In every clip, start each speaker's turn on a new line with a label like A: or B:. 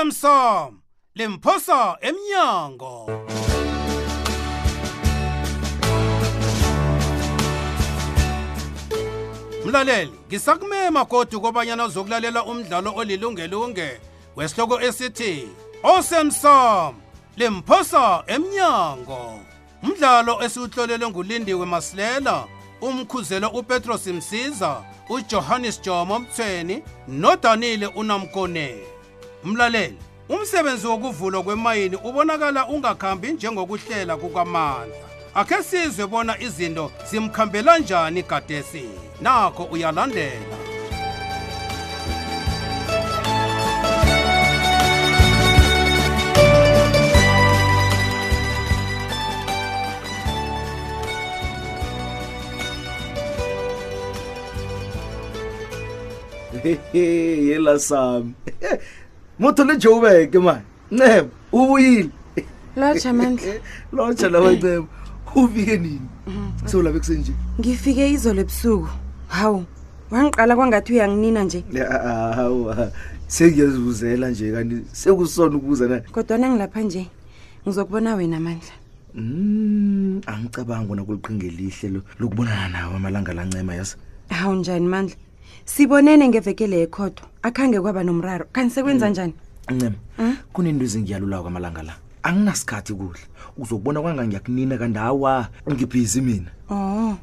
A: osemsamo lemphosa emnyango mlaleli ngisakumema kodwa kobanyana uzokulalela umdlalo olilungelunge wesihloko esithi osemsamo lemphosa emnyango umdlalo esiwuhlolelwe ngulindiwe masilela umkhuzelo upetros msiza ujohannes jomo mthweni nodanile unamkoneni mlaleli umsebenzi wokuvulwa kwemayini ubonakala ungakhambi njengokuhlela kukamandla akhe sizwe bona izinto zimkhambela njani gadesi nakho uyalandela
B: yela sami motho le jowubeke mani ncebo ubuyile
C: lotsha
B: eh,
C: mandla
B: lotsha lawa ncebo ufike nini sewulabe kusenje
C: ngifike izolo ebusuku hawu wangiqala kwangathi uyanginina nje
B: awa sengiyazibuzela nje kanti sekusona ukuza na
C: kodwana ngilapha nje ngizokubona wena mandla
B: Mm, angicabanga kona kuliqhinga elihle lo- lokubonana nawe amalanga lancema yazi
C: hawu njani mandla sibonene ngevekele ekhodo akhange kwaba nomraro kanti sekwenza njani
B: ncema kunento ezingiyalulayo kwamalanga la anginasikhathi kudla uzokubona kwanga ngiyakunina kanti awa ngibhizi mina
C: o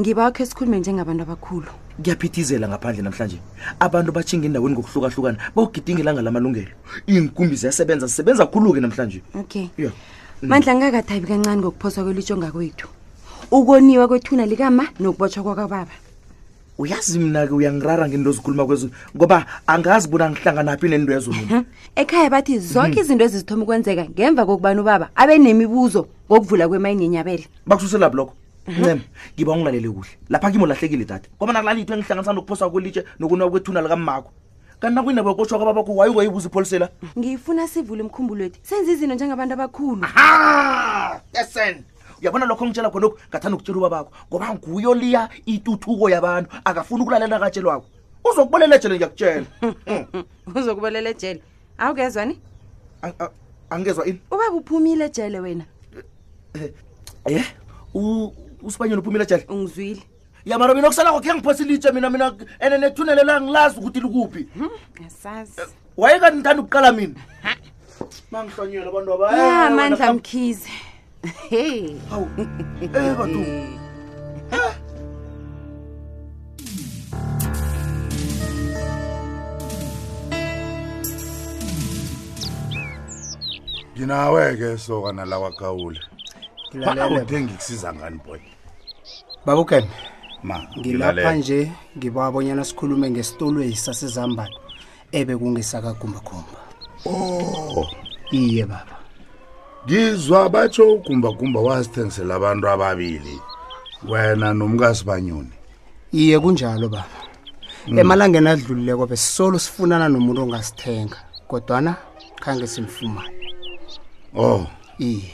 C: ngiba wakho esikhulume Oh, njengabantu abakhulu
B: kuyaphithizela ngaphandle namhlanje abantu batshinga endaweni ngokuhlukahlukana bawugidinga ilanga lamalungelo iinkumbi ziyasebenza zisebenza khulu-ke namhlanje
C: okay
B: ya
C: mandla ngingakathabi kancane ngokuphoswa kwelitsho ngakwethu ukoniwa kwethuna likama nokubotshwa kwakababa
B: uyazi mina-ke uyangirara ngento zikhuluma kwezo ngoba angazi bona ngihlanganaphi nendwezo mina
C: Hm? ekhaya bathi zonke izinto ezizithoma ukwenzeka ngemva kokubani ubaba abe nemibuzo ngokuvula kwemayini yenyabela
B: bakususelaphi lokho ncema ngiba ungilalele kuhle lapha kimi ulahlekile dade ngoba nakulalitho engihlangana nokuphoswa kwelitshe nokunwa kwethuna likammakho kanti nakwindaba yokotshwa kwababakho waye ungayibuza ipholisela
C: ngifuna sivule umkhumbulo wethu senze izinto njengabantu abakhulu
B: ha esen uyabona lokho ngitshela khonokho ngathanda ukutshela ubabakho ngoba nguyo liya ituthuko yabantu akafuni ukulalela akatshelwako uzokubolela jele ngiyakutshela Mm.
C: Ah, uzokubolela ejele awukezwani
B: Ang- a- angezwa ini
C: ubaba uphumile ejele wena
B: ye usibanyeni uphumile jele
C: ungizwile
B: ya mara mina okusalako khe ngiphosa ilitshe mina mina ene nethunelelo angilazi ukuthi likuphi
C: Hmm? yasazi
B: wayekani ngithanda ukuqala mina bangihlonyela abantu Eh,
C: yamandla mkhize he
B: Eh, abaebathu
D: nginawe-ke sokana lawa kawule
E: ngilalele
D: awude ngikusiza ngani boy
E: babukembe
D: ma
E: ngilapha
D: ngilalele.
E: nje ngibabonyana sikhulume ngesitolweyi sasezambane ebe kungesakagumbagumba
D: Oh,
E: iye baba
D: ngizwa batsho ugumbagumba wazithengisela abantu ababili wena nomkasibanyoni
E: iye kunjalo baba
D: Hmm.
E: emalangeni adlulileko besisolo sifunana nomuntu ongasithenga kodwana khange simfumane
D: oh
E: iye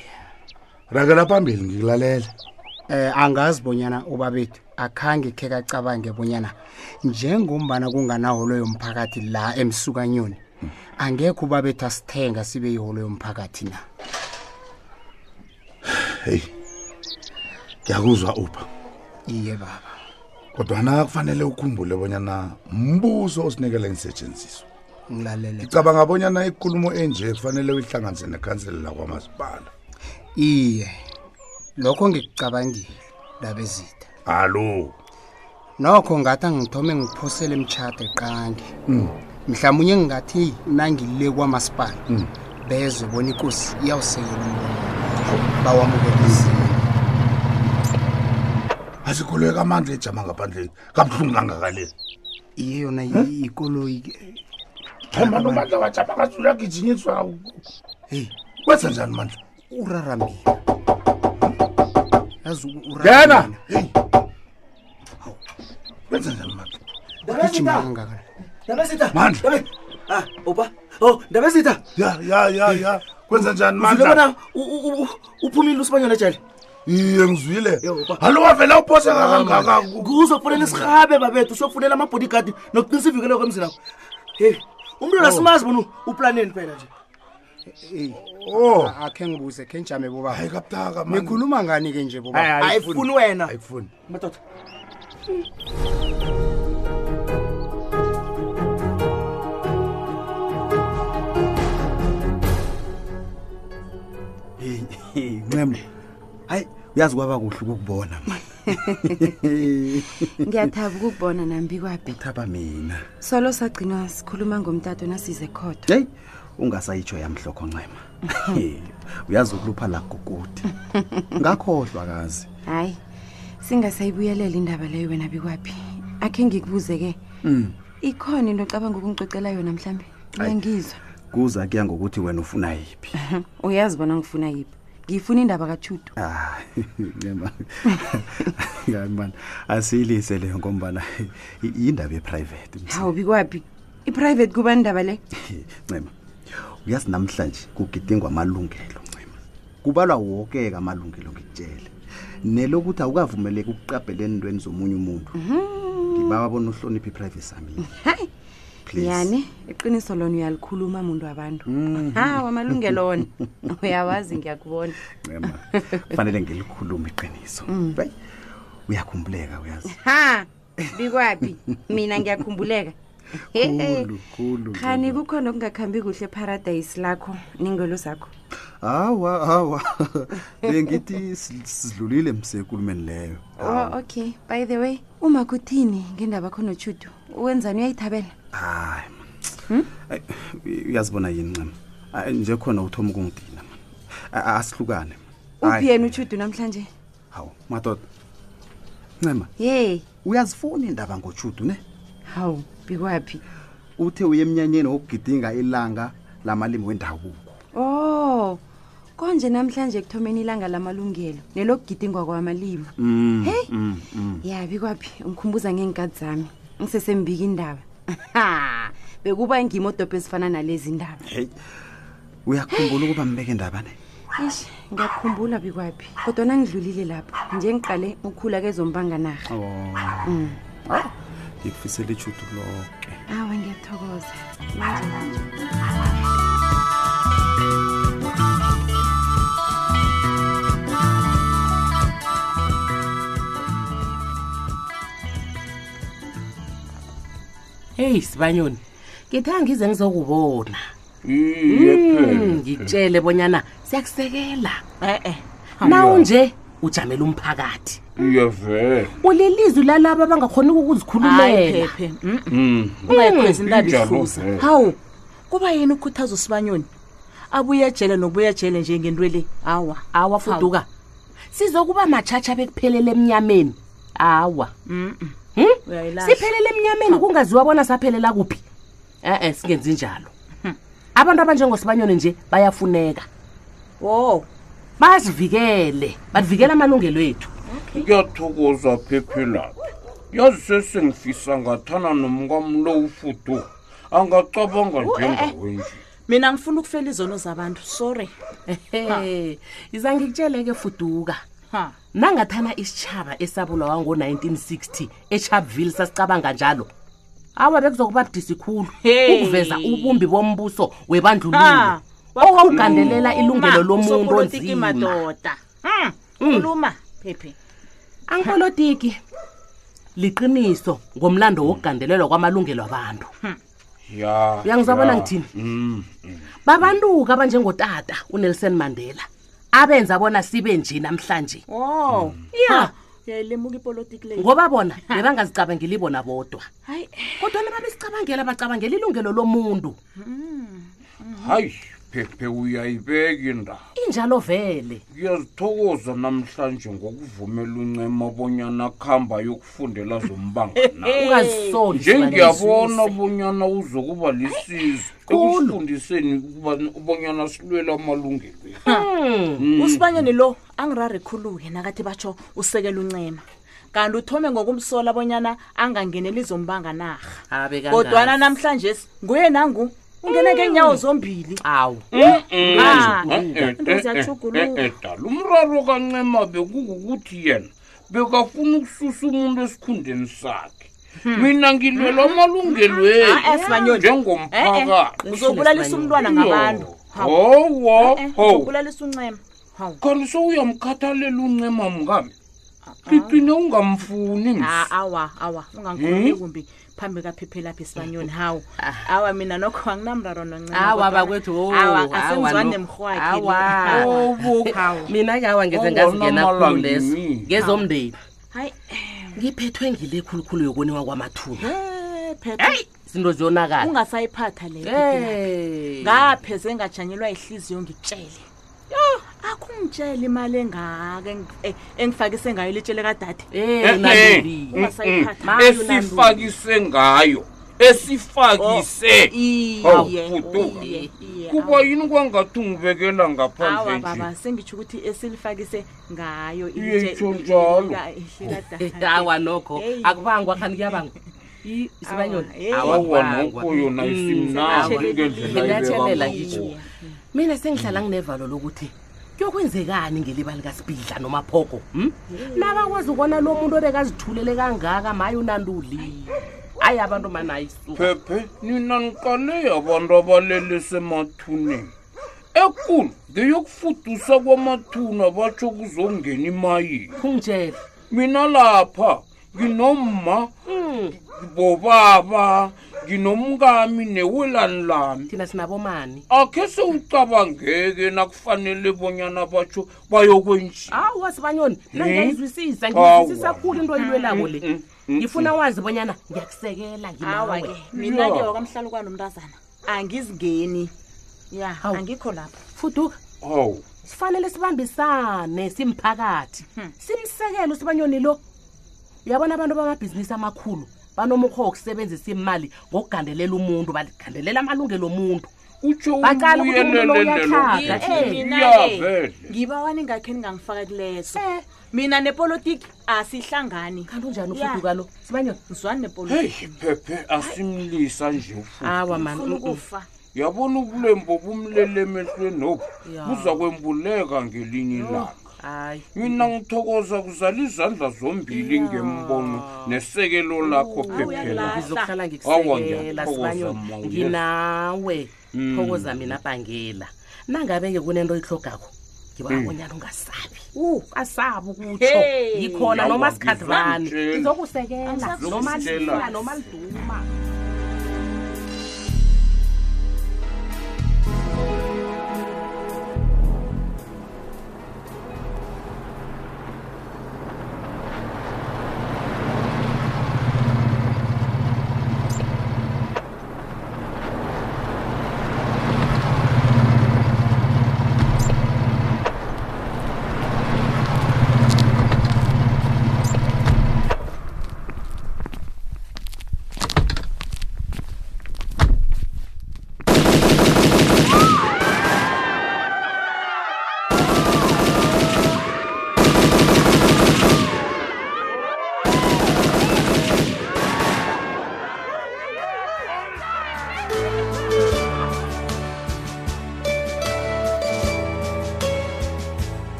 D: rakela phambili ngikulalela
E: Eh angazi bonyana ubabethu akhange khe kacabange bonyana njengombana kunganaholo yomphakathi la emsukanyoni
D: Hmm.
E: angekho ubabethu asithenga sibe yiholo yomphakathi na
D: heyi ngiyakuzwa upha
E: iye baba
D: kodwana kufanele ukhumbule bonyana mbuso osinikela insetshenziswa
E: ngilalele
D: ngicabanga bonyana ikulumo enje kufanele uyihlanganise nekhansela lakwamasipala
E: iye lokho ngikucabangile ndaba ezitha
D: alo
E: nokho ngathi angithome ngiphosele emtshato qange
D: Hmm.
E: mhlawumunye ngingathi nangile kwamasipala
D: Mm.
E: bezwe bona ikosi iyawusekela umbono bawamukelizile
D: asikhuleka amandla ejama ngaphandleni kabuhlungu kangakaleli
E: iye yona i- ikoloyi ke
D: themba nomandla wajama ngazula gijinyiswa
E: heyi
D: wenza njani mandla
E: urara mina yazi u- urara
D: ngena
E: mina.
D: heyi wenza njani mandla
E: Ugijima kangaka.
D: Mandla.
B: Ah, opa Oh, o ndabezitha
D: ya ya ya ya kwenza njani
B: uzile
D: mandla
B: bona u- u- u- uphumile usibanyana jele
D: iye ngizwile
B: Yo, ba-
D: halo wavela uphose kangaka
B: kuzokufunela isirhabe babethu usokufunela amabhodigadi nokuqinisa ivikelo kwemzinakho heyi umntwana simazi bona uplaneni phela nje
D: Oh.
E: akhe ngibuze khe njame
D: hayi
E: bobaba
D: kabutaka man.
E: nikhuluma ngani-ke nje bobaba
D: Hayi, ayifuni.
B: ayifuni wena
D: ayikufuni
B: madoda
F: ncema hayi uyazi kwaba kuhle ukukubona
C: ngiyathaba ukukubona nambi kwabi
F: thaba mina
C: solo sagcina sikhuluma ngomtato nasize khotha
F: heyi ungasayitsho yamhlokho ncema Hey, uyazi ukulupha la gugude ngakhohlwa kazi
C: hayi singasayibuyelela indaba leyo wena bikwaphi akhe ngikubuze ke ikhona into ocabanga ukungicocela yona mhlawumbe uyangizwa
F: kuza kuya ngokuthi wena ufuna yiphi
C: uyazi bona ngifuna yiphi ngifuna indaba katshudu
F: Ah, ncema hayi mani asiyilise leyo ngombana i- yindaba eprivate
C: hawu bikwaphi iprivate kuba indaba le
F: ncema uyazi namhlanje kugidingwa amalungelo ncema kubalwa wokeka amalungelo ngikutshele nelokuthi awukavumeleki ukuqabhela entweni zomunye umuntu
G: Mhm.
F: ngibawa bona uhloniphe iprivacy yami
C: hayi
F: Please.
C: yani iqiniso lona uyalikhuluma muntu abantu hawu amalungelo ona uyawazi ngiyakubona
F: ncema kufanele ngilikhulume iqiniso Hayi, uyakhumbuleka uyazi
C: ha bikwaphi mina ngiyakhumbuleka
F: Khulu, khulu,
C: khani kukhona okungakhambi kuhle eparadayisi lakho ningelo zakho
F: hawa hawa bengithi si- sidlulile msekulumeni leyo
C: oh, okay by the way uma kuthini ngendaba khona tshudu wenzani uyayithabela Hmm?
F: hayi man. Ay, uy- uyazibona yini ncema Ay, nje khona uthoma ukungidina man. A- a- asihlukane man.
C: uphi
F: Hayi.
C: yena utshudu namhlanje
F: hawu madoda ncema
C: ye
F: uyazifuna iindaba ngotshudu ne
C: hawu bikwaphi
F: uthe uye emnyanyeni wokugidinga ilanga lamalimi wendabuko
C: oh konje namhlanje ekuthomeni ilanga lamalungelo nelokugidingwa kwamalimi
F: Mm,
C: Hey.
F: mm, mm.
C: ya bikwaphi ungikhumbuza ngeenkati zami ngisesembika indaba bekuba ngima odobho ezifana nalezi ndaba
F: heyi uyakhumbula ukuba mbeke ndaba ne
C: eish ngiyakhumbula bikwaphi kodwa nangidlulile lapho nje ngiqale ukhula kezombanganarha
F: o Oh.
C: Mm.
F: ngikufisela itshudu loke
C: awa ngiyathokoza
G: heyi sibanyoni ngithe ngize ngizokubona Mm, ngitshele bonyana siyakusekela e-e nawu nje ujamela umphakathi
H: iyavela
G: ulilizwi lalaba abangakhoni
I: hayi
G: ukuzikhululela Mm.
I: phephe ungayikhwezi intaba
H: Injalo
I: ihluza
H: vele.
I: hawu kuba yini ukukhuthaza usibanyoni abuye ejele nobuya ejele nje ngento le awa
G: awa fuduka sizokuba matshatsha bekuphelele emnyameni awa
I: uyayilahla
G: siphelele emnyameni kungaziwa bona saphelela kuphi e-e singenzi njalo
I: Hmm.
G: abantu abanjengosibanyoni nje bayafuneka
I: wo
G: bazivikele bavikela amalungelo ethu
H: ngiyathokoza phephelaphi yazi sesengifisa ngathana nomkamlo ufuduka angacabanga njengawe nje
I: mina ngifuna ukufela izono zabantu sorry
G: ehe iza ngikutshele-ke fuduka
I: ha
G: nangathana isitshaba esabulawa ngo-1960 echapville sasicabanga njalo awa bekuzokuba budisi khulu
I: Hey.
G: ukuveza ubumbi bombuso
I: Ha,
G: webandlululo
I: wakhuluma.
G: owawugandelela ilungelo lomuntu
I: Usopolitiki
G: onzima
I: madoda Hmm, khuluma phephe
G: angipolitiki liqiniso ngomlando wokugandelelwa kwamalungelo abantu
H: ya
G: Uyangizabona
H: ya.
G: ngithini?
H: Mm, mm.
G: babantu-ke abanjengotata unelson mandela abenza bona sibe nje namhlanje
I: wo
G: ya
I: uyayilimuka ipolitiki le
G: ngoba bona bebangazicabangeli bona bodwa
I: hayi
G: kodwa nababesicabangela bacabangela ilungelo lomuntu
I: Hmm.
H: hayi phephe uyayibeka indaba
G: injalo vele
H: ngiyazithokoza namhlanje ngokuvumela uncema bonyana kuhamba yokufundela zombanga na
G: ungazisoli
H: njengiyabona bonyana uzokuba lisizo ekufundiseni bonyana silwela amalungelo ethu.
I: usibanyoni Hmm. lo angirari khulu-ke nakathi batsho usekela uncema kanti uthome ngokumsola bonyana angangeneli zombanga narha kodwana namhlanje nguye nangu
G: Hmm.
I: ungene ngeenyawo zombili
G: awu
I: Ah,
H: Eh, eh,
I: ziyatjhuguluka
H: eh, dala umraro kancema bekukukuthi yena bekafuna ukususa umuntu esikhundeni sakhe mina ngilwela amalungelweni
I: Hmm. Ah, eh, Sibanyoni.
H: njengomphakathi
I: uzobulalisa umntwana ngabantu Hawu.
H: howo
I: Eh, eh,
H: ho
I: uzobulalisa uncema hawu
H: kanti sowuyamkhathalela uncema mngami ngicine ungamfuni
I: Ah,
H: msi
I: awa awa ungangikhulumi kumbi phambi kaphephela phi isibanyoni hawu awa mina nokho anginamraro noncema
G: awa
I: kodwana-
G: bakwethu
I: awa asenzwani nemrhwakhe lo.
H: Oh.
I: Hawu.
G: mina-ke awa ngeze
H: Awona
G: ngazingena khulu
H: malanga
G: leso
H: yini.
G: ngezomndeni
I: hayi
G: ngiphethwe ngile khulukhulu yokoniwa kwamathuba
I: eh, Phethu,
G: heyi zinto ziyonakala
I: ungasayiphatha leyo Phephela.
G: Eh.
I: ngapheze ngajanyelwa ihliziyo ngitshele yo akungitshele imali engaka engi- eh, engifakise ngayo litshele kadade
G: Eh,
H: Eh,
G: Nanduli.
I: ungasayiphatha
G: Ma-
H: esifakise ngayo esifakise Hawu,
I: Oh, iye
H: fuduka.
I: iye, iye,
H: kuba
I: awa.
H: yini kwangathi ungibekela ngaphandle
I: awa
H: nje
I: baba sengitsho ukuthi esilifakise ngayo
H: Iye,
I: ilitshe-
H: itjho njalo. Oh.
I: ka- ihle
G: Eh,
I: kadade.
G: awa nokho
I: Hey.
G: akubangwa khani kuyabangwa I- isibanyoni
I: hey.
H: awa Mm,
G: akubangwa.
H: nokho yona
G: awa.
H: isimnandi
G: Nginatjhelela
H: ngendlela
G: ngitjho.
H: ibeka
G: mina sengihlala nginevalo lokuthi kuyokwenzekani ngelibali kasibhidla nomaphogo hmm? nabakwazi ukubona lo muntu obekazithulele kangaka maye unanduli hayi abantu manayi suka
H: phephe nina niqale abantu abalele semathuneni ekulu ngeyokufudusa kwamathuna batsho kuzongena imayini
G: ungitshele
H: mina lapha nginomma bobaba nginomkami newelani lami
G: thina sinabomani
H: akhe sewucabangeke nakufanele bonyana batsho bayokwenjani
G: awu asibanyoni mina
H: Hmm?
G: ngiyayizwisisa
H: Awa.
G: ngiyizwisisa khulu into oyilwelako le ngifuna wazi bonyana ngiyakusekela
I: awa-ke
G: nginawe
I: mina-ke
H: Ya.
I: wakwamhlalo kwanomntazana angizingeni ya
G: Hawu.
I: angikho lapho
G: fuduka
H: hawu
G: sifanele sibambisane simphakathi simsekele usibanyoni lo uyabona abantu bamabhizinisi amakhulu banomukhuba wokusebenzisa imali ngokugandelela umuntu bagandelela amalungelo omuntu
H: utsho
G: Baqala ukuthi umuntu lo uyathanda. Eh,
I: mina-ke
H: uyavele
I: ngibawani ngakhe ningangifaka kuleso
G: Eh.
I: mina nepolitiki asihlangani
G: kanti unjani
I: Ya.
G: ufuduka lo sibanyoni
I: ngizwani
H: heyi
I: nepolitiki
H: phephe asimlisa nje ufu
G: awa mani
I: funa
G: mm-mm.
I: ukufa
H: yabona ubulembo bumlele emehlweni obu
G: Ya.
H: buza kwembuleka ngelinye ilanga
G: hayi
H: mina ngithokoza kuzala izandla zombili ngembono nesekelo lakho
I: uyalala.
H: phephela
G: ngizokuhlala
H: Awa,
G: ngikusekela
H: ngiyathokoza, Mm. ma, yes.
G: sibanyoni nginawe thokoza mina bhangela nangabe-ke kunento oyihlogakho ngibabonyana ungasabi Uh, asabi ukutsho
I: Hey.
G: ngikhona
H: Awa,
G: noma sikhadlani
H: ngizakutshela.
G: ngizokusekela noma
H: Ngizokutshela.
G: lifika noma liduma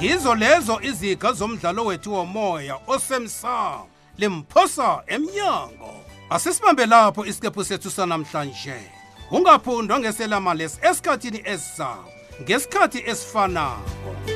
A: ngizo lezo iziga zomdlalo wethu womoya osemsamo limphosa emnyango asisibambe lapho isiqephu sethu sanamhlanje ungaphundwa ngeselamales esikhathini esizayo ngesikhathi esifanako